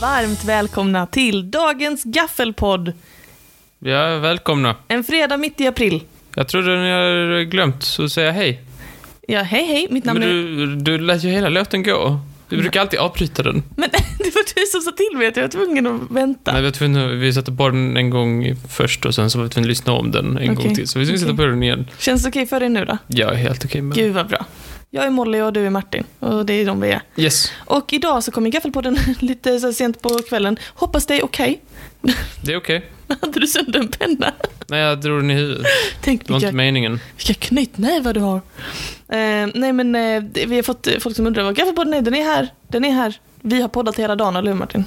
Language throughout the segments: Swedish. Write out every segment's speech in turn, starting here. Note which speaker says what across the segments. Speaker 1: varmt välkomna till dagens gaffelpodd.
Speaker 2: Ja, välkomna.
Speaker 1: En fredag mitt i april.
Speaker 2: Jag trodde ni hade glömt att säga hej.
Speaker 1: Ja, hej hej, mitt namn
Speaker 2: Men
Speaker 1: är...
Speaker 2: du, du lät ju hela låten gå.
Speaker 1: Mm.
Speaker 2: Du brukar alltid avbryta den.
Speaker 1: Men det var du som sa till mig att jag var tvungen att vänta.
Speaker 2: Nej, vi, var tvungna, vi satte på den en gång först och sen så var vi tvungna att lyssna om den en
Speaker 1: Okej.
Speaker 2: gång till. Så vi ska sätta på den igen.
Speaker 1: Känns det okej för dig nu då?
Speaker 2: Ja, helt okej med
Speaker 1: Gud vad bra. Jag är Molly och du är Martin och det är de vi är.
Speaker 2: Yes,
Speaker 1: Och idag så kommer gaffelpodden lite så här sent på kvällen. Hoppas det är okej.
Speaker 2: det är okej.
Speaker 1: Hade du sönder en penna?
Speaker 2: Nej, jag drog den i huvudet.
Speaker 1: Tänk
Speaker 2: Det var
Speaker 1: vilka
Speaker 2: inte meningen.
Speaker 1: Vilka knytnävar du har. Eh, nej men eh, det- vi har fått eh, folk som undrar vad Gaffelpodden är. Den är här. Den är här. Vi har poddat hela dagen, eller hur Martin?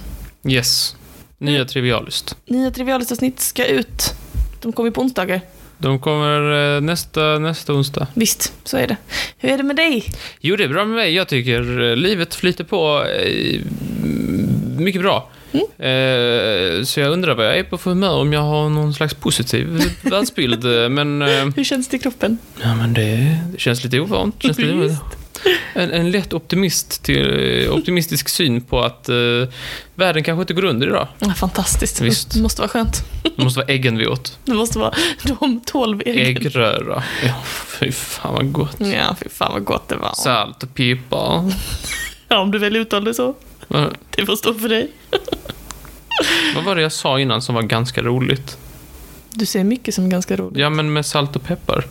Speaker 2: Yes. Nya
Speaker 1: Mm.
Speaker 2: Trivialist.
Speaker 1: Nya trivialisavsnitt ska ut. De kommer ju på onsdagar.
Speaker 2: De kommer eh, nästa, nästa onsdag.
Speaker 1: Visst, så är det. Hur är det med dig?
Speaker 2: Jo, det är bra med mig. Jag tycker eh, livet flyter på eh, m- mycket bra.
Speaker 1: Mm.
Speaker 2: Eh, så jag undrar vad jag är på för humör, om jag har någon slags positiv världsbild. Eh, men, eh,
Speaker 1: Hur känns det i kroppen?
Speaker 2: ja, men det, det känns lite ovant. Känns lite
Speaker 1: Visst.
Speaker 2: En, en lätt optimist till, eh, optimistisk syn på att eh, världen kanske inte går under idag.
Speaker 1: Ja, fantastiskt.
Speaker 2: Visst.
Speaker 1: Det måste vara skönt.
Speaker 2: Det måste vara äggen vi åt.
Speaker 1: Det måste vara de tolv äggen.
Speaker 2: Äggröra. Ja, fy fan vad gott.
Speaker 1: Ja, fy fan vad gott det var.
Speaker 2: Salt och peppar.
Speaker 1: Ja, om du väl uttalar det så.
Speaker 2: Vad,
Speaker 1: Det får stå för dig.
Speaker 2: vad var det jag sa innan som var ganska roligt?
Speaker 1: Du ser mycket som är ganska roligt.
Speaker 2: Ja, men med salt och peppar.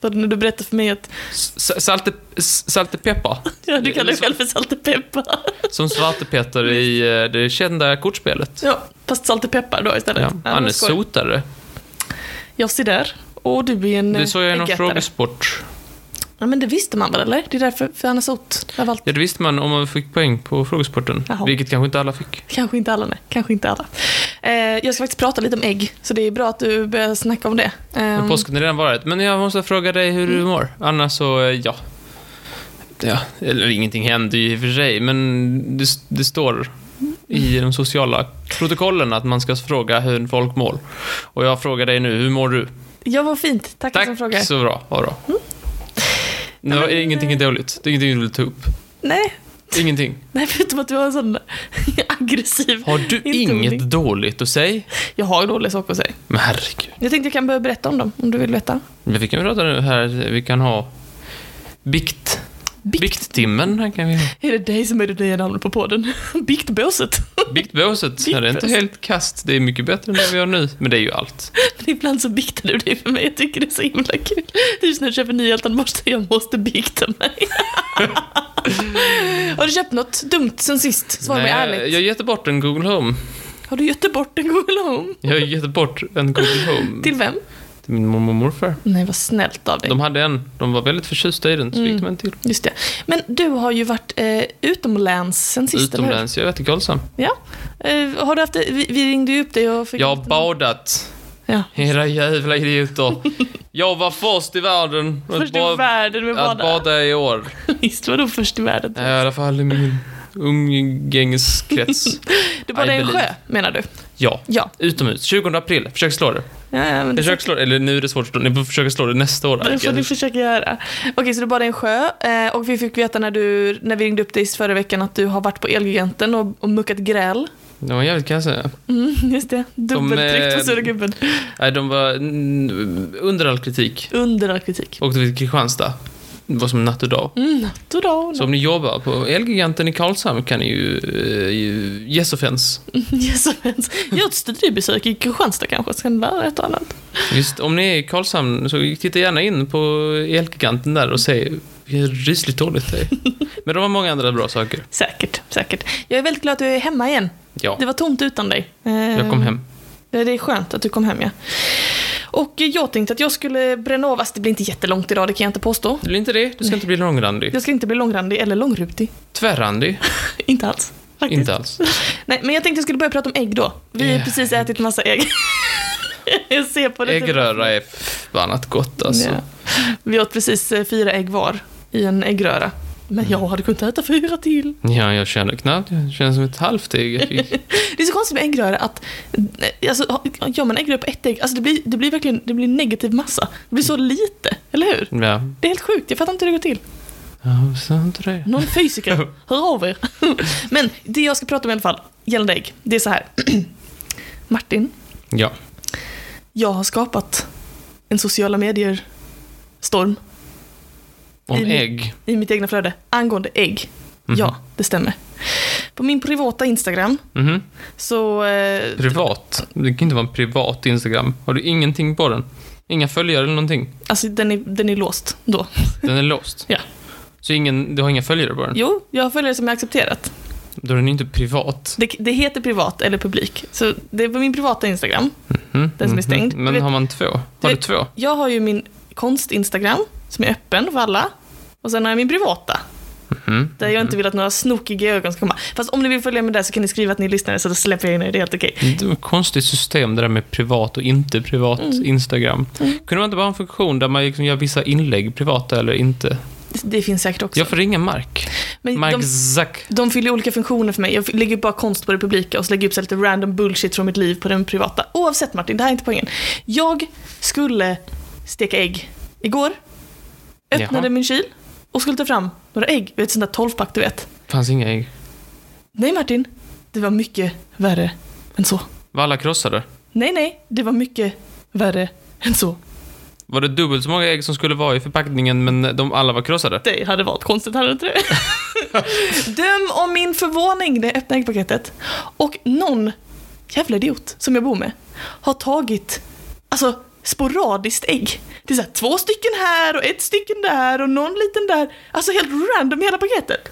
Speaker 1: För När du berättar för mig att
Speaker 2: S- Salte, s- salte peppar,
Speaker 1: ja, du
Speaker 2: Det-
Speaker 1: kallar dig själv för Salte Peppar.
Speaker 2: som Svarte Petter i eh, det kända kortspelet.
Speaker 1: Ja, fast salt och peppar då istället.
Speaker 2: Ja,
Speaker 1: men
Speaker 2: han är
Speaker 1: skoj.
Speaker 2: sotare.
Speaker 1: Jag ser där. Och du är en
Speaker 2: Det såg jag i någon
Speaker 1: äggätare.
Speaker 2: frågesport.
Speaker 1: Ja, men det visste man väl eller? Det är därför, för han är sot. Av allt.
Speaker 2: Ja, det visste man om man fick poäng på frågesporten,
Speaker 1: Jaha.
Speaker 2: vilket kanske inte alla fick.
Speaker 1: Kanske inte alla, nej. Kanske inte alla. Eh, jag ska faktiskt prata lite om ägg, så det är bra att du börjar snacka om det.
Speaker 2: Men
Speaker 1: Ehm, Mm.
Speaker 2: påsken har redan varit. Men jag måste fråga dig hur du mår. Annars så, eh, ja. ja. Eller ingenting hände ju i och för sig, men det, det står i de sociala protokollen att man ska fråga hur folk mår. Och jag frågar dig nu, hur mår du?
Speaker 1: Ja, vad fint. Tack, som
Speaker 2: Tack
Speaker 1: frågar. Mm.
Speaker 2: så bra. Ha då. Det var ingenting är dåligt. Det är ingenting du vill ta upp.
Speaker 1: Nej,
Speaker 2: Ingenting.
Speaker 1: nej, förutom att du har en sån aggressiv...
Speaker 2: Har du
Speaker 1: Inte
Speaker 2: inget
Speaker 1: roligt.
Speaker 2: dåligt att säga?
Speaker 1: Jag har dåliga saker att säga.
Speaker 2: Men herregud.
Speaker 1: Jag tänkte jag kan börja berätta om dem, om du vill veta.
Speaker 2: Men vi kan prata nu här. Vi kan ha bikt.
Speaker 1: Bikt.
Speaker 2: Bikttimmen här kan vi ha.
Speaker 1: Är det dig som är det nya namnet på podden? Biktbåset.
Speaker 2: Biktbåset. Ja, Det är inte
Speaker 1: Biktbåset.
Speaker 2: helt kast. Det är mycket bättre än det vi har nu. Men det är ju allt.
Speaker 1: Ibland så biktar du dig för mig, jag tycker det är så himla kul. Du när du köper nyhjältan måste jag måste bikta mig. har du köpt något dumt sen sist? Svara mig ärligt.
Speaker 2: jag har gett bort en Google Home.
Speaker 1: Har du gett bort en Google Home?
Speaker 2: Jag har gett bort en Google Home till
Speaker 1: Till vem?
Speaker 2: min mormor och morfar.
Speaker 1: Nej, vad snällt av dig.
Speaker 2: De hade en. De var väldigt förtjusta i den, så
Speaker 1: Mm.
Speaker 2: fick de en till.
Speaker 1: Just det. Men du har ju varit eh, utomlands sen sist, eller hur?
Speaker 2: Utomlands. Jag är jättekolsam.
Speaker 1: Ja. Eh, har du haft det? Vi, vi ringde ju upp dig och fick...
Speaker 2: Jag har badat.
Speaker 1: Ja.
Speaker 2: Era jävla idioter. Jag var först i världen att
Speaker 1: Först i
Speaker 2: ba-
Speaker 1: världen med
Speaker 2: att
Speaker 1: bada.
Speaker 2: bada i år.
Speaker 1: Visst, vadå först i världen?
Speaker 2: Eh, Ja, I alla fall i min umgängeskrets.
Speaker 1: Du badade i en sjö,
Speaker 2: I believe.
Speaker 1: menar du?
Speaker 2: Ja,
Speaker 1: Ja.
Speaker 2: utomhus. 20 april. Försök slå det.
Speaker 1: ja, ja men det
Speaker 2: Försök slå det. Eller nu är det svårt att slå. Ni får försöka slå det nästa år.
Speaker 1: Det får du
Speaker 2: Agge.
Speaker 1: försöka göra. Okej, så du badade i en sjö eh, och vi fick veta när, du, när vi ringde upp dig förra veckan att du har varit på Elgiganten och, och muckat gräl.
Speaker 2: De var jävligt kassa.
Speaker 1: Mm, just det, dubbeltryckt på
Speaker 2: eh,
Speaker 1: sura gubben.
Speaker 2: Nej, de var mm, under all kritik.
Speaker 1: Under all kritik.
Speaker 2: Åkte vi till Kristianstad. Det var som natt och dag.
Speaker 1: Mm, natt och dag.
Speaker 2: Så om ni jobbar på Elgiganten i Karlshamn kan ni ju... eh, ju- Yes offense.
Speaker 1: Yes, offense. Gör ett studiebesök i Kristianstad kanske, så kan du lära dig ett och annat.
Speaker 2: Just, om ni är i Karlshamn så titta gärna in på Elgiganten där och se hur rysligt dåligt det är. Men de har många andra bra saker.
Speaker 1: Säkert, säkert. Jag är väldigt glad att du är hemma igen.
Speaker 2: Ja,
Speaker 1: Det var tomt utan dig. Eh,
Speaker 2: jag kom hem.
Speaker 1: Det det är skönt att du kom hem, ja. Och eh, jag tänkte att jag skulle bränna av, fast det blir inte jättelångt idag, det kan jag inte påstå.
Speaker 2: Det blir inte det. Du ska inte bli långrandig.
Speaker 1: Jag ska inte bli långrandig eller långrutig.
Speaker 2: Tvärrandig?
Speaker 1: Inte alls. Faktiskt.
Speaker 2: Inte alls.
Speaker 1: Nej, men jag tänkte jag skulle börja prata om ägg då. Vi har
Speaker 2: Ja,
Speaker 1: precis ätit massa ägg. jag ser på det. typ-
Speaker 2: Äggröra är förbannat gott
Speaker 1: Ja.
Speaker 2: alltså.
Speaker 1: Vi åt precis eh, fyra ägg var i en äggröra. Men
Speaker 2: Mm.
Speaker 1: jag hade kunnat äta fyra till.
Speaker 2: Ja, jag känner knappt. Jag känner som ett halvt ägg. jag fick.
Speaker 1: Det är så konstigt med äggröra att... eh, Alltså, ha- gör man äggröra på ett ägg, alltså det blir, det blir verkligen det blir negativ massa. Det blir så lite, eller hur?
Speaker 2: Ja.
Speaker 1: Det är helt sjukt, jag fattar inte hur det går till.
Speaker 2: Jag sa inte det.
Speaker 1: Någon fysiker, hör av er. Men det jag ska prata om i alla fall, gällande ägg, det är så här. Martin,
Speaker 2: Ja.
Speaker 1: jag har skapat en sociala medier-storm
Speaker 2: Om
Speaker 1: I min-
Speaker 2: ägg.
Speaker 1: i mitt egna flöde angående ägg.
Speaker 2: Mhm.
Speaker 1: Ja, det stämmer. På min privata Instagram
Speaker 2: Mhm.
Speaker 1: så... Eh,
Speaker 2: Privat. Det kan inte vara en privat Instagram. Har du ingenting på den? Inga följare eller någonting?
Speaker 1: alltså den är, den är låst då.
Speaker 2: Den är låst.
Speaker 1: Ja.
Speaker 2: Så ingen, du har inga följare på den?
Speaker 1: Jo, jag har följare som är accepterat.
Speaker 2: Då är den ju inte privat.
Speaker 1: Det, det heter privat eller publik. Så det är på min privata Instagram.
Speaker 2: Mm,
Speaker 1: Den som är stängd.
Speaker 2: mhm.
Speaker 1: Du
Speaker 2: Men
Speaker 1: vet-
Speaker 2: har man två? Har du
Speaker 1: vet-
Speaker 2: två?
Speaker 1: Jag har ju min konst-Instagram som är öppen för alla. Och sen har jag min privata.
Speaker 2: Mhm.
Speaker 1: Där jag inte vill att några snokiga ögon ska komma. Fast om ni vill följa med där så kan ni skriva att ni lyssnar så då släpper jag in er. Det är helt okej.
Speaker 2: Det var ett konstigt system det där med privat och inte privat
Speaker 1: Mm.
Speaker 2: Instagram. Kunde man inte bara ha en funktion där man liksom gör vissa inlägg privata eller inte?
Speaker 1: Det, det finns säkert också.
Speaker 2: Jag får ringa Mark.
Speaker 1: Men
Speaker 2: Mark
Speaker 1: de-
Speaker 2: Zack.
Speaker 1: De fyller ju olika funktioner för mig. Jag lägger upp bara konst på det publika och så lägger jag upp så här lite random bullshit från mitt liv på den privata. Oavsett Martin, det här är inte poängen. Jag skulle steka ägg igår. Öppnade
Speaker 2: Jaha.
Speaker 1: min kyl och skulle ta fram några ägg. Du vet sånt där 12-pack du vet.
Speaker 2: Fanns inga ägg.
Speaker 1: Nej Martin, det var mycket värre än så.
Speaker 2: Var alla krossade?
Speaker 1: Nej, nej, det var mycket värre än så.
Speaker 2: Var det dubbelt så många ägg som skulle vara i förpackningen men de alla var krossade?
Speaker 1: Det hade varit konstigt, hade det inte det? Döm om min förvåning när jag öppnade äggpaketet. Och någon jävla idiot som jag bor med har tagit, alltså sporadiskt ägg. Det är så här, två stycken här och ett stycken där och någon liten där. Alltså helt random i hela paketet.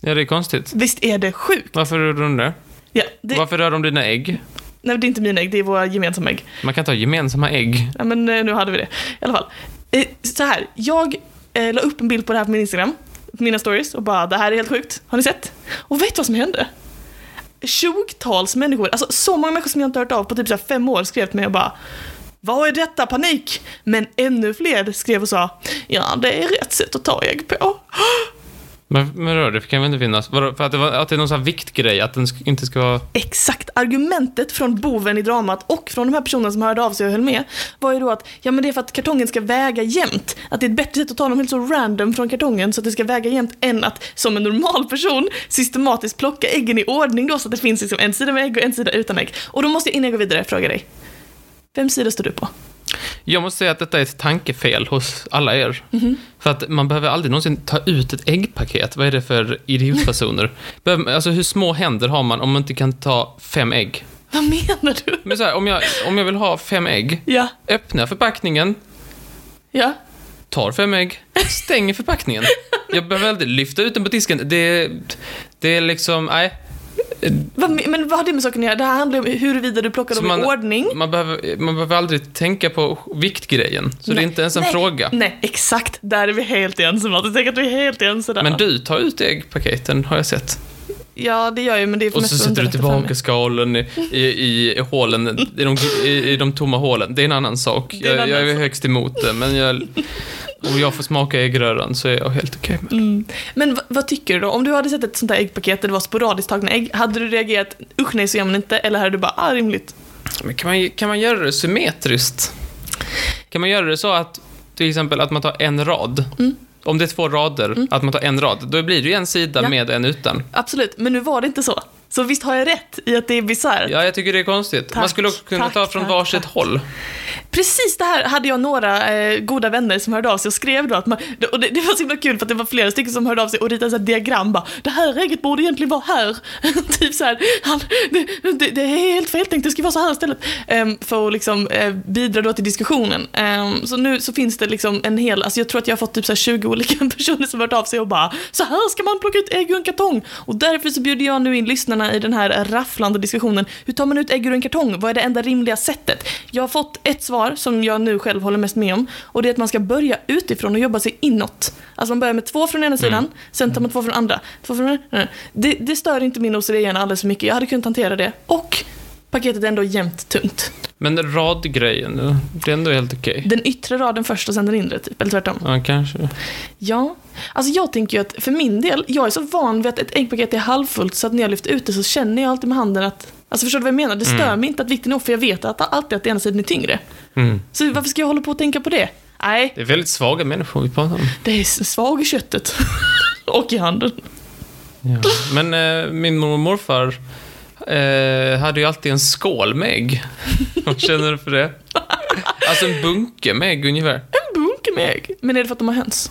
Speaker 2: Ja, det är konstigt.
Speaker 1: Visst är det sjukt?
Speaker 2: Varför rör de det?
Speaker 1: Ja, det,
Speaker 2: Varför rör de dina ägg?
Speaker 1: nej, det är inte mina ägg, det är våra gemensamma ägg.
Speaker 2: Man kan inte ha gemensamma ägg.
Speaker 1: Ja, men eh, nu hade vi det. I alla fall. Eh, Så här, jag eh, la upp en bild på det här på min Instagram, på mina stories och bara det här är helt sjukt. Har ni sett? Och vet du vad som hände? Tjugotals människor, alltså så många människor som jag inte hört av på typ så här fem år skrev till mig och bara Vad är detta? Panik! Men ännu fler skrev och sa Ja, det är rätt sätt att ta ägg på.
Speaker 2: Men, men rör det kan väl inte finnas? Vadå, För att det, var, att det är någon sån här viktgrej, att den sk- inte ska vara...
Speaker 1: Exakt argumentet från boven i dramat och från de här personerna som hörde av sig och höll med var ju då att ja men det är för att kartongen ska väga jämnt. Att det är ett bättre sätt att ta dem helt så random från kartongen så att det ska väga jämnt än att som en normal person systematiskt plocka äggen i ordning då så att det finns liksom en sida med ägg och en sida utan ägg. Och då måste jag innan jag går vidare fråga dig. Vem sida står du på?
Speaker 2: Jag måste säga att detta är ett tankefel hos alla er.
Speaker 1: Mhm.
Speaker 2: För att man behöver aldrig någonsin ta ut ett äggpaket. Vad är det för idiotpersoner? Behöver, alltså hur små händer har man om man inte kan ta fem ägg?
Speaker 1: Vad menar du?
Speaker 2: Men så här, om, jag, om jag vill ha fem ägg,
Speaker 1: Ja,
Speaker 2: öppnar förpackningen,
Speaker 1: ja.
Speaker 2: tar fem ägg, stänger förpackningen. Jag behöver aldrig lyfta ut den på disken. Det, det är liksom, nej.
Speaker 1: Vad me- Men vad har det med saken att göra? Det här handlar ju om huruvida du plockar
Speaker 2: Så
Speaker 1: dem i
Speaker 2: man-
Speaker 1: ordning.
Speaker 2: Man behöver, man behöver aldrig tänka på viktgrejen. Så det
Speaker 1: Nej.
Speaker 2: är inte ens en
Speaker 1: Nej.
Speaker 2: fråga.
Speaker 1: Nej, exakt. Där är vi helt ense Martin. Tänk att vi är helt ense där.
Speaker 2: Men du tar ut äggpaketen, har jag sett.
Speaker 1: Ja, det gör jag ju, men det är för
Speaker 2: Och
Speaker 1: mest
Speaker 2: så sätter du
Speaker 1: underlätta för
Speaker 2: tillbaka
Speaker 1: mig.
Speaker 2: skalen i, i, i hålen, i de, i, i de tomma hålen. Det är en annan sak.
Speaker 1: Det är en
Speaker 2: Jag, jag
Speaker 1: annan
Speaker 2: är
Speaker 1: sak.
Speaker 2: högst emot det, men jag... Om jag får smaka äggröran så är jag helt okej med det.
Speaker 1: Mm. Men v- vad tycker du då? Om du hade sett ett sånt där äggpaket där det var sporadiskt tagna ägg, hade du reagerat usch nej så gör man inte, eller hade du bara ah rimligt?
Speaker 2: Men kan man, kan man göra det symmetriskt? Kan man göra det så att till exempel att man tar en rad?
Speaker 1: Mm.
Speaker 2: Om det är två rader, att man tar en rad, då blir det ju en sida
Speaker 1: Ja.
Speaker 2: med en utan.
Speaker 1: Absolut, men nu var det inte så. Så visst har jag rätt i att det är bisarrt.
Speaker 2: Ja, jag tycker det är konstigt.
Speaker 1: Tack,
Speaker 2: man skulle också kunna
Speaker 1: tack,
Speaker 2: ta från
Speaker 1: tack,
Speaker 2: varsitt
Speaker 1: tack.
Speaker 2: håll.
Speaker 1: Precis det här hade jag några eh, goda vänner som hörde av sig och skrev då att man, och det, det var så himla kul för att det var flera stycken som hörde av sig och ritade så här diagram bara Det här ägget borde egentligen vara här. typ så här, han, det, det, det är helt fel tänkt, det ska vara så här istället. Ehm, för att liksom eh, bidra då till diskussionen. Ehm, så nu så finns det liksom en hel, alltså jag tror att jag har fått typ så här 20 olika personer som hört av sig och bara Så här ska man plocka ut ägg ur en kartong. Och därför så bjuder jag nu in lyssnarna i den här rafflande diskussionen. Hur tar man ut ägg ur en kartong? Vad är det enda rimliga sättet? Jag har fått ett svar som jag nu själv håller mest med om och det är att man ska börja utifrån och jobba sig inåt. Alltså man börjar med två från ena sidan, sen tar man två från andra. Två från andra. Det, det stör inte min OCD-hjärna alldeles för mycket. Jag hade kunnat hantera det. Och paketet är ändå jämnt tungt.
Speaker 2: Men radgrejen, det är ändå helt okej.
Speaker 1: Den yttre raden först och sen den inre, typ. Eller tvärtom.
Speaker 2: Ja, kanske.
Speaker 1: Ja, alltså jag tänker ju att för min del, jag är så van vid att ett äggpaket är halvfullt så att när jag lyfter ut det så känner jag alltid med handen att Alltså förstår du vad jag menar? Det stör mig inte att vikten är off för jag vet att alltid att ena sidan är tyngre.
Speaker 2: Mm.
Speaker 1: Så varför ska jag hålla på och tänka på det? Nej,
Speaker 2: Det är väldigt svaga människor vi pratar om.
Speaker 1: det är svag i köttet. och i handen.
Speaker 2: Ja. Men eh, min mormor och morfar eh, hade ju alltid en skål med ägg. Vad känner du för det? Alltså en bunke med ägg ungefär.
Speaker 1: En bunk med ägg. Men är det för att de har höns?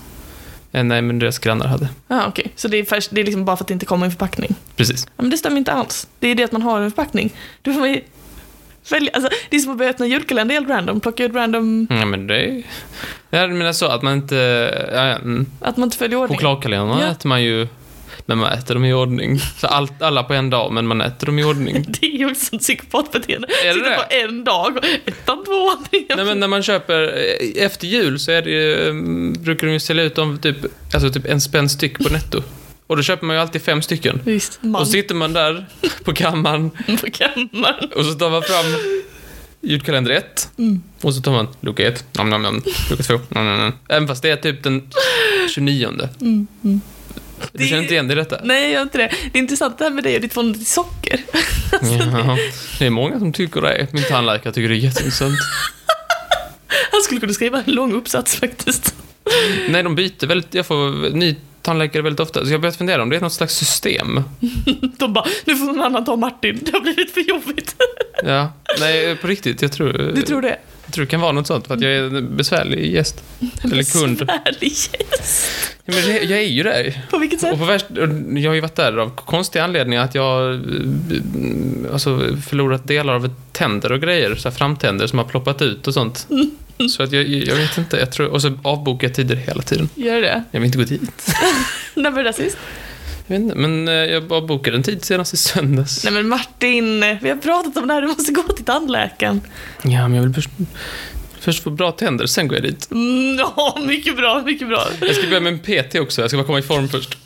Speaker 2: Eh, nej, men deras grannar hade.
Speaker 1: Ja, okej. Så det är, färs- det är liksom bara för att det inte kommer i en förpackning?
Speaker 2: Precis.
Speaker 1: Ja, men det stämmer inte alls. Det är det att man har en förpackning. Då får man ju välja. Alltså, det är som att börja öppna julkalender helt random. Plocka ut random,
Speaker 2: Ja, men det är... Jag menar så att man inte... Ja, ja, mm.
Speaker 1: att man inte följer ordning.
Speaker 2: Chokladkalendrarna
Speaker 1: Ja.
Speaker 2: äter man ju... Men man äter dem i ordning. Så allt, alla på en dag, men man äter dem i ordning.
Speaker 1: Det är ju också ett psykopatbeteende.
Speaker 2: det
Speaker 1: Sitta
Speaker 2: det?
Speaker 1: på en dag och ettan, tvåan, trean.
Speaker 2: Nej men när man köper, eh, efter jul så är det ju, mm, brukar de ju sälja ut dem typ, alltså typ en spänn styck på netto. Och då köper man ju alltid fem stycken.
Speaker 1: Visst, man
Speaker 2: Och sitter man där på kammaren
Speaker 1: på kammaren.
Speaker 2: och så tar man fram julkalender 1. Och så tar man lucka 1, nam, nam, nam. lucka 2, nam, nam, nam. Även fast det är typ den 29. Du
Speaker 1: Det-
Speaker 2: känner inte igen dig i detta?
Speaker 1: Nej, jag gör inte det. Det är intressant det här med dig och ditt förhållande till socker.
Speaker 2: Jaha. Det är många som tycker det. Min tandläkare tycker det är jätteintressant.
Speaker 1: Han skulle kunna skriva en lång uppsats faktiskt.
Speaker 2: Nej, de byter väldigt, jag får ny tandläkare väldigt ofta. Så jag har börjat fundera om det är något slags system.
Speaker 1: De bara, nu får någon annan ta Martin, det har blivit för jobbigt.
Speaker 2: Ja, nej på riktigt. Jag tror,
Speaker 1: Du tror det?
Speaker 2: jag tror det kan vara något sånt för att jag är en besvärlig gäst. Eller kund.
Speaker 1: Besvärlig yes.
Speaker 2: Ja, men det, jag är ju det.
Speaker 1: På vilket sätt?
Speaker 2: Och på värst, och jag har ju varit där av konstiga anledningar att jag har, eh, alltså, förlorat delar av tänder och grejer, så här framtänder som har ploppat ut och sånt. Så att jag, jag vet inte, jag tror, och så avbokar jag tider hela tiden.
Speaker 1: Gör det?
Speaker 2: Jag vill inte gå dit.
Speaker 1: När var det där sist?
Speaker 2: Jag vet inte, men eh, jag bara bokade en tid senast i söndags.
Speaker 1: Nej men Martin, vi har pratat om det här, du måste gå till tandläkaren.
Speaker 2: Ja, men jag vill först, först få bra tänder, sen går jag dit.
Speaker 1: Mm, ja, mycket bra, mycket bra.
Speaker 2: Jag ska börja med en PT också, jag ska bara komma i form först.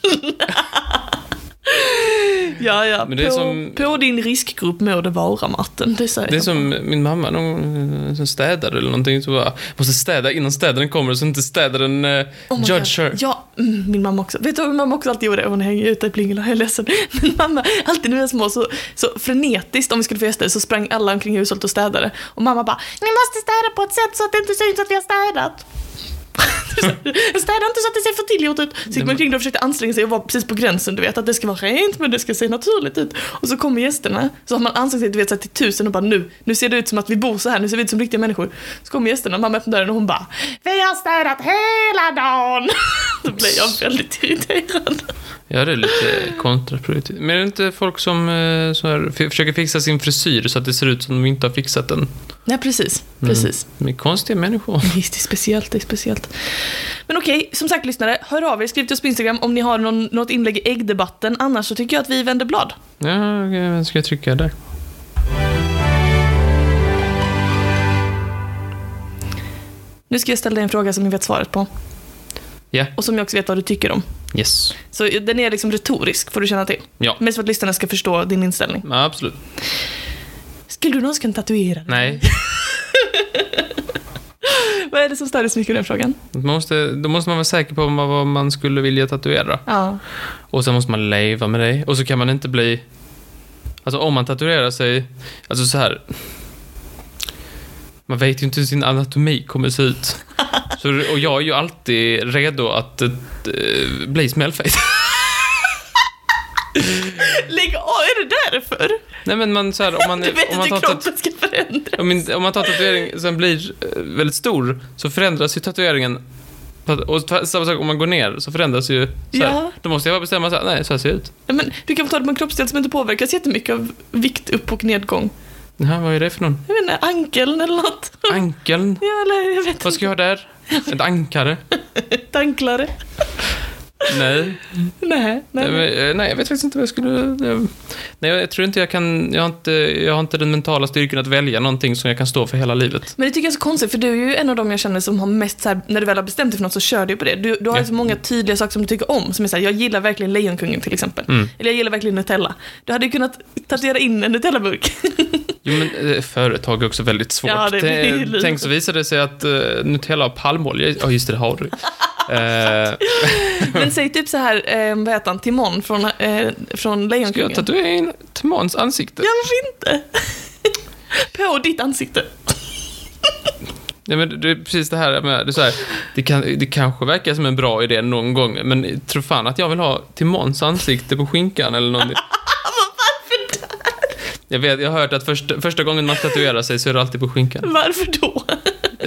Speaker 1: Ja, ja.
Speaker 2: Men det är
Speaker 1: på,
Speaker 2: som-
Speaker 1: på din riskgrupp må det vara Martin, det säger
Speaker 2: Det är
Speaker 1: jag.
Speaker 2: som min mamma, någon eh, som städade eller någonting, så bara måste städa innan städaren kommer så inte städaren eh,
Speaker 1: Oh my
Speaker 2: judge
Speaker 1: God.
Speaker 2: her.
Speaker 1: Ja, mm, min mamma också. Vet du vad min mamma också alltid gjorde? Hon hänger ute i Plingela, jag är ledsen. Min mamma, alltid när vi var små, så, så frenetiskt om vi skulle få gäster så sprang alla omkring i hushållet och städade. Och mamma bara, ni måste städa på ett sätt så att det inte syns att vi har städat. Städa inte så att det ser för tillgjort ut. Så gick man omkring där och försökte anstränga sig och var precis på gränsen, du vet. Att det ska vara rent men det ska se naturligt ut. Och så kommer gästerna, så har man ansträngt sig du vet, så här till tusen och bara nu, nu ser det ut som att vi bor så här, nu ser vi ut som riktiga människor. Så kommer gästerna, mamma öppnar dörren och hon bara Vi har städat hela dagen! Då blev jag väldigt irriterad.
Speaker 2: Ja, det är lite kontraproduktivt. Men är det inte folk som eh, så här, f- försöker fixa sin frisyr så att det ser ut som de inte har fixat den?
Speaker 1: Nej precis, precis.
Speaker 2: De är konstiga människor.
Speaker 1: Visst, det är speciellt, det är speciellt. Men okej, som sagt lyssnare, hör av er, skriv till oss på Instagram om ni har någon, något inlägg i äggdebatten, annars så tycker jag att vi vänder blad.
Speaker 2: Ja, okej, vem ska jag trycka där?
Speaker 1: Nu ska jag ställa dig en fråga som ni vet svaret på.
Speaker 2: Ja.
Speaker 1: Och som jag också vet vad du tycker om.
Speaker 2: Yes.
Speaker 1: Så den är liksom retorisk, får du känna till.
Speaker 2: Ja,
Speaker 1: Mest för att lyssnarna ska förstå din inställning.
Speaker 2: ja absolut.
Speaker 1: Skulle du någonsin tatuera dig?
Speaker 2: Nej,
Speaker 1: Vad är det som stör dig så mycket i den frågan?
Speaker 2: man måste, då måste man vara säker på vad vad man skulle vilja tatuera.
Speaker 1: Ja.
Speaker 2: Och sen måste man leva med det. Och så kan man inte bli... Alltså om man tatuerar sig... Alltså så här. Man vet ju inte hur sin anatomi kommer se ut. Så, och jag är ju alltid redo att eh, bli smällfet.
Speaker 1: Lägg av, är det därför?
Speaker 2: Nej men man så här, om man...
Speaker 1: Du vet
Speaker 2: om man
Speaker 1: inte hur
Speaker 2: tat-
Speaker 1: kroppen ska förändras.
Speaker 2: om, min- om man tar tatueringen sen blir eh, väldigt stor så förändras ju tatueringen. Och t- samma sak om man går ner så förändras ju... Så här.
Speaker 1: Ja.
Speaker 2: Då måste jag bara bestämma så här, nej så här ser jag ut.
Speaker 1: Nej, Men du kan få ta det på en kroppsdel som inte påverkas jättemycket av vikt upp och nedgång.
Speaker 2: Jaha, vad är det för någon?
Speaker 1: Jag vet inte, ankeln eller något.
Speaker 2: Ankeln?
Speaker 1: Ja, eller jag vet
Speaker 2: Vad ska jag ha där? Ett ankare?
Speaker 1: inte, anklare.
Speaker 2: Nej.
Speaker 1: Nej, nej.
Speaker 2: Nej,
Speaker 1: nej.
Speaker 2: men, eh, nej, jag vet faktiskt inte vad jag skulle... eh, Nej, jag tror inte jag kan... Jag har inte, jag har inte den mentala styrkan att välja någonting som jag kan stå för hela livet.
Speaker 1: Men det tycker jag är så konstigt, för du är ju en av de jag känner som har mest så här, när du väl har bestämt dig för något så kör du på det. Du, du har
Speaker 2: Ja.
Speaker 1: ju så många tydliga saker som du tycker om, som är såhär, jag gillar verkligen Lejonkungen till exempel.
Speaker 2: Mm.
Speaker 1: Eller jag gillar verkligen Nutella. Du hade ju kunnat tatuera in en Nutella-burk.
Speaker 2: Jo, men eh, företag är också väldigt svårt.
Speaker 1: Ja, det blir
Speaker 2: Tän-
Speaker 1: lite-
Speaker 2: Tänk så visade det sig att eh, Nutella har palmolja i- Ja, just det, det har du. Eh,
Speaker 1: Men säg typ så här, eh, vad heter han, Timon från, eh, från
Speaker 2: ska jag
Speaker 1: Lejonkungen.
Speaker 2: tatuera in Timons ansikte?
Speaker 1: Ah, Ja, varför inte? på ditt ansikte.
Speaker 2: Ja, men det är precis det här med, det, är så här, det, kan, det kanske verkar som en bra idé någon gång, men tro fan att jag vill ha till Måns ansikte på skinkan eller någonting.
Speaker 1: Varför, då?
Speaker 2: Jag, vet, jag har hört att första, första gången man tatuerar sig så är det alltid på skinkan.
Speaker 1: Varför då?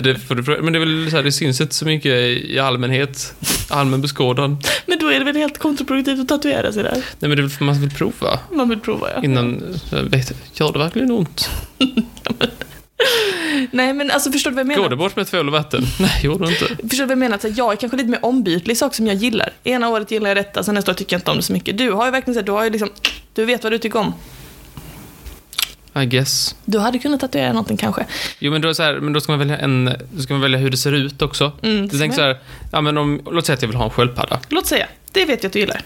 Speaker 2: Det, får du fråga- men det är väl så här, det syns inte så mycket i allmänhet, allmän beskådan.
Speaker 1: Men då är det väl helt kontraproduktivt att tatuera sig där?
Speaker 2: Nej men det är väl för man vill prova
Speaker 1: Man vill prova ja.
Speaker 2: innan, så här, vet, gör det verkligen ont?
Speaker 1: Nej men alltså förstår du vad jag menar?
Speaker 2: Går det bort med tvål och vatten? Nej, gjorde det inte.
Speaker 1: Förstår du vad jag menar? Så här, jag är kanske lite mer ombytlig i saker som jag gillar. Ena året gillar jag detta, sen nästa år tycker jag inte om det så mycket. Du har ju verkligen sett, du har ju liksom, du vet vad du tycker om.
Speaker 2: I guess.
Speaker 1: Du hade kunnat tatuera någonting kanske.
Speaker 2: Jo men då, är det så här, men då ska man välja en, då ska man välja hur det ser ut också.
Speaker 1: Mm,
Speaker 2: Du tänker så här, ja men om, låt säga att jag vill ha en sköldpadda.
Speaker 1: Låt säga, det vet jag att du gillar.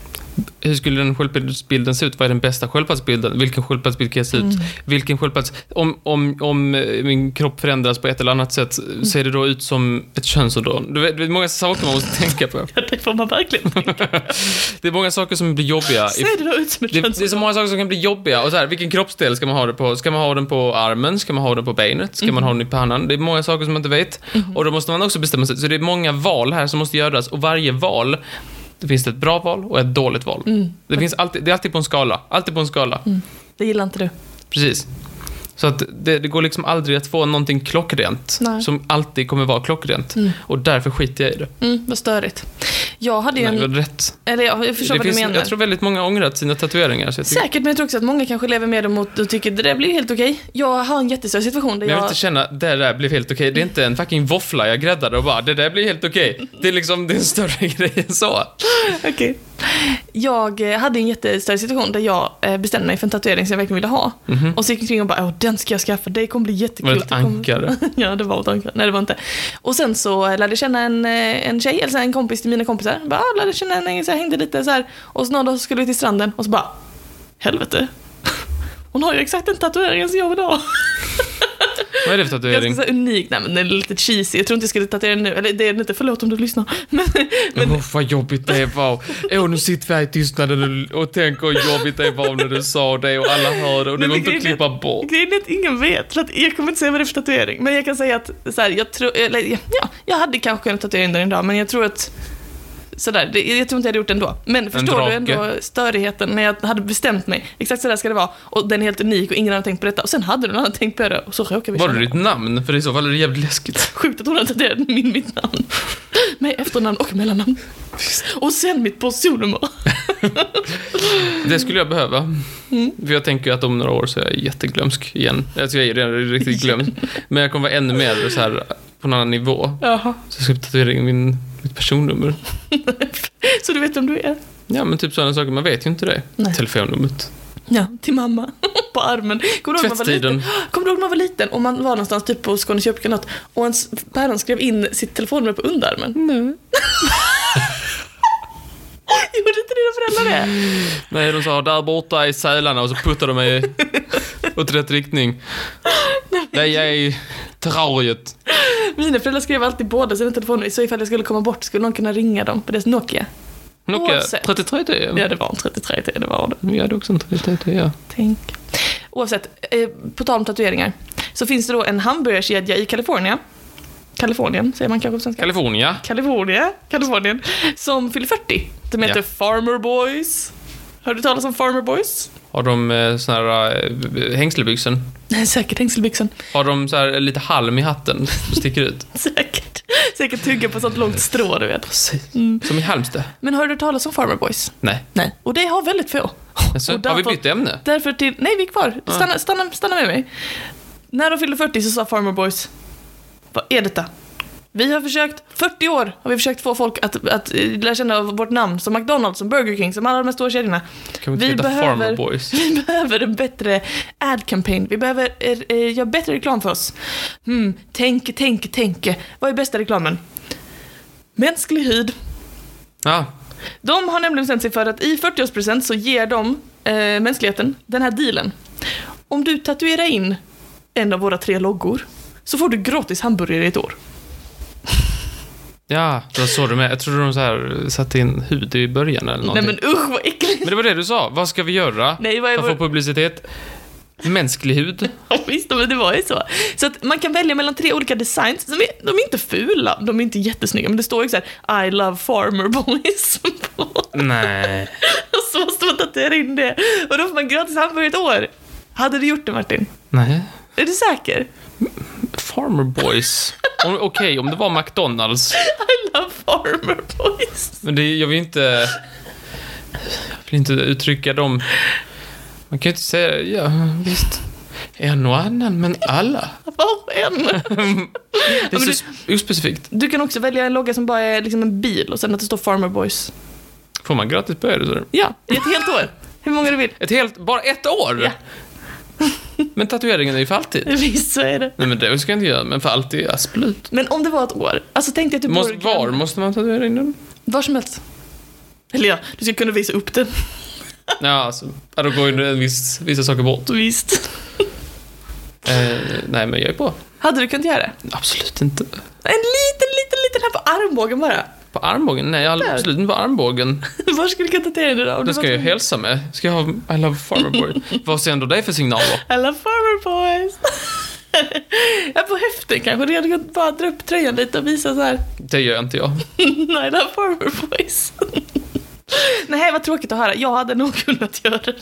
Speaker 2: Hur skulle den sköldpaddsbilden se ut? Vad är den bästa sköldpaddsbilden? Vilken sköldpaddsbild kan jag se ut? Vilken sköldpadds... Om, om, om eh, min kropp förändras på ett eller annat sätt, ser det då ut som ett könsorgan? Du vet, det är många saker man måste tänka på.
Speaker 1: Det får man verkligen tänka.
Speaker 2: Det är många saker som blir jobbiga. i-
Speaker 1: Ser det då ut som ett
Speaker 2: Det, det är så
Speaker 1: könsorgan?
Speaker 2: många saker som kan bli jobbiga. Och så här, vilken kroppsdel ska man ha det på? Ska man ha den på armen? Ska man ha den på benet? Ska man ha den i pannan? Det är många saker som man inte vet.
Speaker 1: Mhm.
Speaker 2: Och då måste man också bestämma sig. Så det är många val här som måste göras. Och varje val, det finns det ett bra val och ett dåligt val.
Speaker 1: Mm.
Speaker 2: Det, finns alltid, det är alltid på en skala. Alltid på en skala.
Speaker 1: Det gillar inte du.
Speaker 2: Precis. Så att det, det går liksom aldrig att få någonting klockrent.
Speaker 1: Nej.
Speaker 2: Som alltid kommer vara klockrent. Och därför skiter jag i det.
Speaker 1: Mm, vad störigt. Jag hade ju
Speaker 2: Nej,
Speaker 1: en...
Speaker 2: det var rätt.
Speaker 1: Eller jag, jag förstår
Speaker 2: Det
Speaker 1: vad
Speaker 2: finns,
Speaker 1: du menar.
Speaker 2: jag tror väldigt många ångrat sina tatueringar. Så jag tycker-
Speaker 1: Säkert, men jag tror också att många kanske lever med dem och och tycker det där blir helt okej. Jag har en jättestörig situation där
Speaker 2: Men jag vill
Speaker 1: jag...
Speaker 2: inte känna, det där blev helt okej. Det är inte en fucking våffla jag gräddade och bara, det där blir helt okej. Det är liksom, det är en större grej än så.
Speaker 1: Okej. Jag eh, hade en jättestörig situation där jag eh, bestämde mig för en tatuering som jag verkligen ville ha. Och så gick jag omkring och bara, åh den ska jag skaffa, det kommer bli jättekul.
Speaker 2: Mhm. Var det ett
Speaker 1: Det kommer-
Speaker 2: ankare?
Speaker 1: ja, det var ett ankare. Nej, det var inte. Och sen så eh, lärde jag känna en, eh, en tjej, eller så här, en kompis till mina kompisar. Bara, ah, lärde känna en, så här, hängde lite så här. Och så någon dag så skulle vi till stranden och så bara, helvete. Hon har ju exakt den tatueringen som jag vill ha.
Speaker 2: Vad är det
Speaker 1: Ganska
Speaker 2: för tatuering?
Speaker 1: så här unik, nej men den är lite cheesy. Jag tror inte jag skulle tatuera den nu, eller det är den inte, förlåt om du lyssnar. Men, men
Speaker 2: Åh, vad jobbigt det var. Åh, nu sitter vi här i tystnaden och- och tänker hur jobbigt det var när du sa det och alla hörde och
Speaker 1: Men
Speaker 2: det går
Speaker 1: det
Speaker 2: inte att
Speaker 1: grejen är-
Speaker 2: klippa bort.
Speaker 1: Grejen är att ingen vet, för att jag kommer inte säga vad det är för tatuering. Men jag kan säga att så här, jag tror, eller, ja, jag hade kanske kunnat tatuera in den idag, men jag tror att Sådär, det, jag tror inte jag hade gjort det ändå. Men förstår du
Speaker 2: drake.
Speaker 1: ändå störigheten när jag hade bestämt mig. Exakt sådär ska det vara. Och den är helt unik och ingen annan har tänkt på detta. Och sen hade någon annan tänkt på det och så råkade vi
Speaker 2: Var det
Speaker 1: känna-
Speaker 2: ditt namn? För i så fall är det jävligt läskigt.
Speaker 1: Sjukt att hon hade tatuerat min, mitt namn. Med efternamn och mellannamn. Och sen mitt personnummer.
Speaker 2: Det skulle jag behöva. För jag tänker ju att om några år så är jag jätteglömsk igen. Alltså jag är ju redan riktigt glömsk. Men jag kommer vara ännu mer så här på en annan nivå.
Speaker 1: Jaha.
Speaker 2: Så jag ska tatuera in min, mitt personnummer.
Speaker 1: Så du vet vem du är?
Speaker 2: Ja, men typ sådana saker. Man vet ju inte det.
Speaker 1: Nej.
Speaker 2: Telefonnumret.
Speaker 1: Ja, till mamma. På armen. Kommer du ihåg när man var liten?
Speaker 2: Tvättstiden.
Speaker 1: Kommer du ihåg när man var liten och man var någonstans typ på Skånes kyrka eller något och ens päron skrev in sitt telefonnummer på underarmen? Nej. Gjorde inte dina föräldrar det?
Speaker 2: Nej, de sa där borta i Sälarna och så puttade de mig åt rätt riktning. Nej, jag är i terrariet.
Speaker 1: Mina föräldrar skrev alltid båda sina telefonnummer så ifall jag skulle komma bort skulle någon kunna ringa dem på deras Nokia.
Speaker 2: Nokia
Speaker 1: Oavsett.
Speaker 2: 33 det
Speaker 1: Ja,
Speaker 2: är.
Speaker 1: det var en 33 det var det.
Speaker 2: Vi hade också en 33 det ja.
Speaker 1: Tänk. Oavsett, eh, på tal om tatueringar så finns det då en hamburgerkedja i Kalifornien. Kalifornien säger man kanske på svenska.
Speaker 2: California.
Speaker 1: Kalifornien, Kalifornien, som fyller 40. De heter
Speaker 2: Ja.
Speaker 1: Farmer Boys. Har du talat om Farmer Boys?
Speaker 2: Har de eh, såna här eh, hängslebyxen?
Speaker 1: Nej, säkert hängselbyxan.
Speaker 2: Har de så här lite halm i hatten som sticker ut?
Speaker 1: Säkert. Säkert tugga på sånt långt strå, du vet. Mm.
Speaker 2: Precis. Som i Halmstad?
Speaker 1: Men har du talat om Farmer Boys?
Speaker 2: Nej.
Speaker 1: Nej. Och det har väldigt få.
Speaker 2: Alltså,
Speaker 1: Och
Speaker 2: har vi
Speaker 1: därför-
Speaker 2: bytt ämne?
Speaker 1: Därför till... Nej, vi är kvar. Stanna, stanna, stanna med mig. När de fyllde 40 så sa Farmer Boys, vad är detta? Vi har försökt, 40 år har vi försökt få folk att, att eh, lära känna vårt namn som McDonalds, som Burger King, som alla de här stora kedjorna.
Speaker 2: Kan vi inte
Speaker 1: vi
Speaker 2: heta
Speaker 1: behöver-
Speaker 2: Farmer Boys?
Speaker 1: Vi behöver en bättre ad campaign. Vi behöver eh, eh, göra bättre reklam för oss. Hmm, tänk, tänk, tänk. Vad är bästa reklamen? Mänsklig hud.
Speaker 2: Ja,
Speaker 1: De har nämligen bestämt sig för att i 40-årspresent så ger de eh, mänskligheten den här dealen. Om du tatuerar in en av våra tre loggor så får du gratis hamburgare i ett år.
Speaker 2: ja. Det var så de är. Jag trodde de så här satte in hud i början eller någonting.
Speaker 1: Nej men usch vad äckligt.
Speaker 2: Men det var det du sa. Vad ska vi göra?
Speaker 1: Nej, vad är
Speaker 2: För att
Speaker 1: vår...
Speaker 2: få publicitet? Mänsklig hud.
Speaker 1: Ja, visst, men det var ju så. Så att man kan välja mellan tre olika designs. Som är, de är inte fula, de är inte jättesnygga, men det står ju så här I love farmer boys. på.
Speaker 2: Nej.
Speaker 1: Och så måste man tatuera in det. Och då får man gratis hamburgare ett år. Hade du gjort det Martin?
Speaker 2: Nej.
Speaker 1: Är du säker?
Speaker 2: Farmer Boys. Om- Okej, om det var McDonalds.
Speaker 1: I love farmer boys.
Speaker 2: Men det, jag vill inte... Jag vill inte uttrycka dem... Man kan ju inte säga... Ja, visst. En och annan, men alla.
Speaker 1: Var en.
Speaker 2: Det är
Speaker 1: men
Speaker 2: så ospecifikt.
Speaker 1: Du kan också välja en logga som bara är liksom en bil och sen att det står farmer boys.
Speaker 2: Får man gratis på det?
Speaker 1: Ja, i ett helt år. Hur många du vill.
Speaker 2: Ett helt... Bara ett år?
Speaker 1: Ja.
Speaker 2: Men tatueringen är ju för alltid.
Speaker 1: Visst så är det.
Speaker 2: Nej, men det ska jag inte göra. Men för alltid, absolut.
Speaker 1: Men om det var ett år, alltså tänk dig att du
Speaker 2: Måste,
Speaker 1: bor
Speaker 2: var måste man tatuera in den?
Speaker 1: var som helst. Eller ja, du ska kunna visa upp den.
Speaker 2: Ja, alltså. ja, Då går ju en viss, vissa saker bort.
Speaker 1: Visst.
Speaker 2: Eh, nej, men jag är på.
Speaker 1: Hade du kunnat göra det?
Speaker 2: Absolut inte.
Speaker 1: En liten, liten, liten här på armbågen bara.
Speaker 2: På armbågen? Nej, jag har
Speaker 1: Där.
Speaker 2: absolut inte på armbågen.
Speaker 1: Var skulle du kunna tatuera den då? Om
Speaker 2: Det
Speaker 1: du
Speaker 2: ska
Speaker 1: var
Speaker 2: jag ju
Speaker 1: tvungen?
Speaker 2: hälsa med. Ska jag ha I love farmer boy? Vad sänder det för signaler?
Speaker 1: I love farmer boys. ja, på höften kanske. Du hade kunnat bara dra upp tröjan lite och visa så här.
Speaker 2: Det gör inte jag.
Speaker 1: I love farmer boys. Nej, vad tråkigt att höra. Jag hade nog kunnat göra det.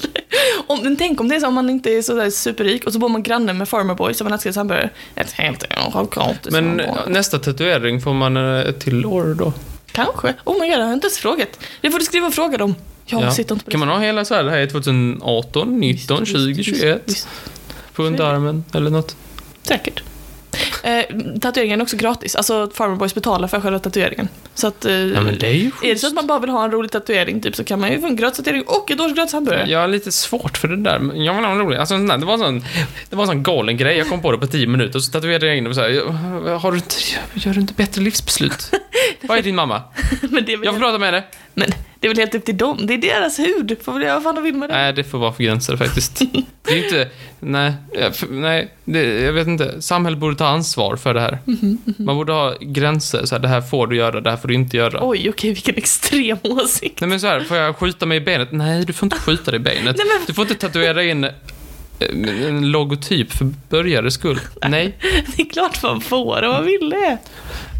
Speaker 1: Om, men tänk om det är så om man inte är så där superrik och så bor man granne med farmer boys och man älskar hamburgare. Ett helt självklart.
Speaker 2: Men eh, nästa tatuering får man eh, ett till år då?
Speaker 1: Kanske. Oh my god, jag har inte ens frågat. Det får du skriva och fråga dem. Jag
Speaker 2: Ja.
Speaker 1: sitter inte på det.
Speaker 2: Kan man ha hela så här, det här är 2018, 19, 20, 21
Speaker 1: Visst,
Speaker 2: på underarmen eller något?
Speaker 1: Säkert. Eh, tatueringen är också gratis. Alltså Farmer Boys betalar för själva tatueringen. Så att... Eh,
Speaker 2: Ja, men det är ju
Speaker 1: är det så att man bara vill ha en rolig tatuering typ så kan man ju få en gratis tatuering och ett års gratis hamburgare.
Speaker 2: Jag har lite svårt för det där. men Jag vill ha en rolig. Alltså, en sån där- det, var en sån, det var en sån galen grej. Jag kom på det på 10 minuter och så tatuerade jag in och så här, har du inte, Gör du inte bättre livsbeslut? Vad är din mamma?
Speaker 1: men, det är väl,
Speaker 2: Jag får prata med henne.
Speaker 1: men det är väl helt upp till dem. Det är deras hud. Får väl göra vad fan de vill med det.
Speaker 2: Nej, det får vara för gränser faktiskt. Det är ju inte... Nej, jag- för- nej det, jag vet inte. Samhället borde ta ansvar för det här. Man borde ha gränser. Så här, det här får du göra, det här får du inte göra.
Speaker 1: Oj, okej, vilken extrem åsikt.
Speaker 2: Nej men så här, får jag skjuta mig i benet? Nej, du får inte skjuta dig i benet.
Speaker 1: Nej, men-
Speaker 2: Du får inte tatuera in eh, en logotyp för börjares skull. Nej,
Speaker 1: Det är klart man får om man vill det.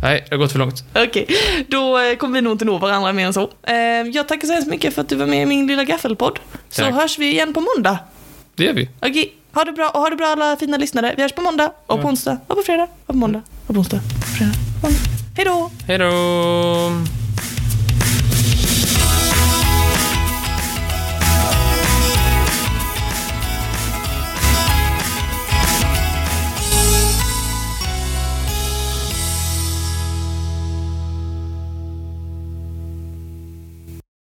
Speaker 2: nej, det har gått för långt.
Speaker 1: Okej, då eh, kommer vi nog inte nå varandra mer än så. Eh, Jag tackar så hemskt mycket för att du var med i min lilla gaffelpodd. Så
Speaker 2: Tack.
Speaker 1: hörs vi igen på måndag.
Speaker 2: Det gör vi.
Speaker 1: Okej, ha det bra och ha det bra alla fina lyssnare. Vi hörs på måndag och på onsdag och på fredag och på måndag och på onsdag och på fredag. och på måndag. Hej då!
Speaker 2: Hej då!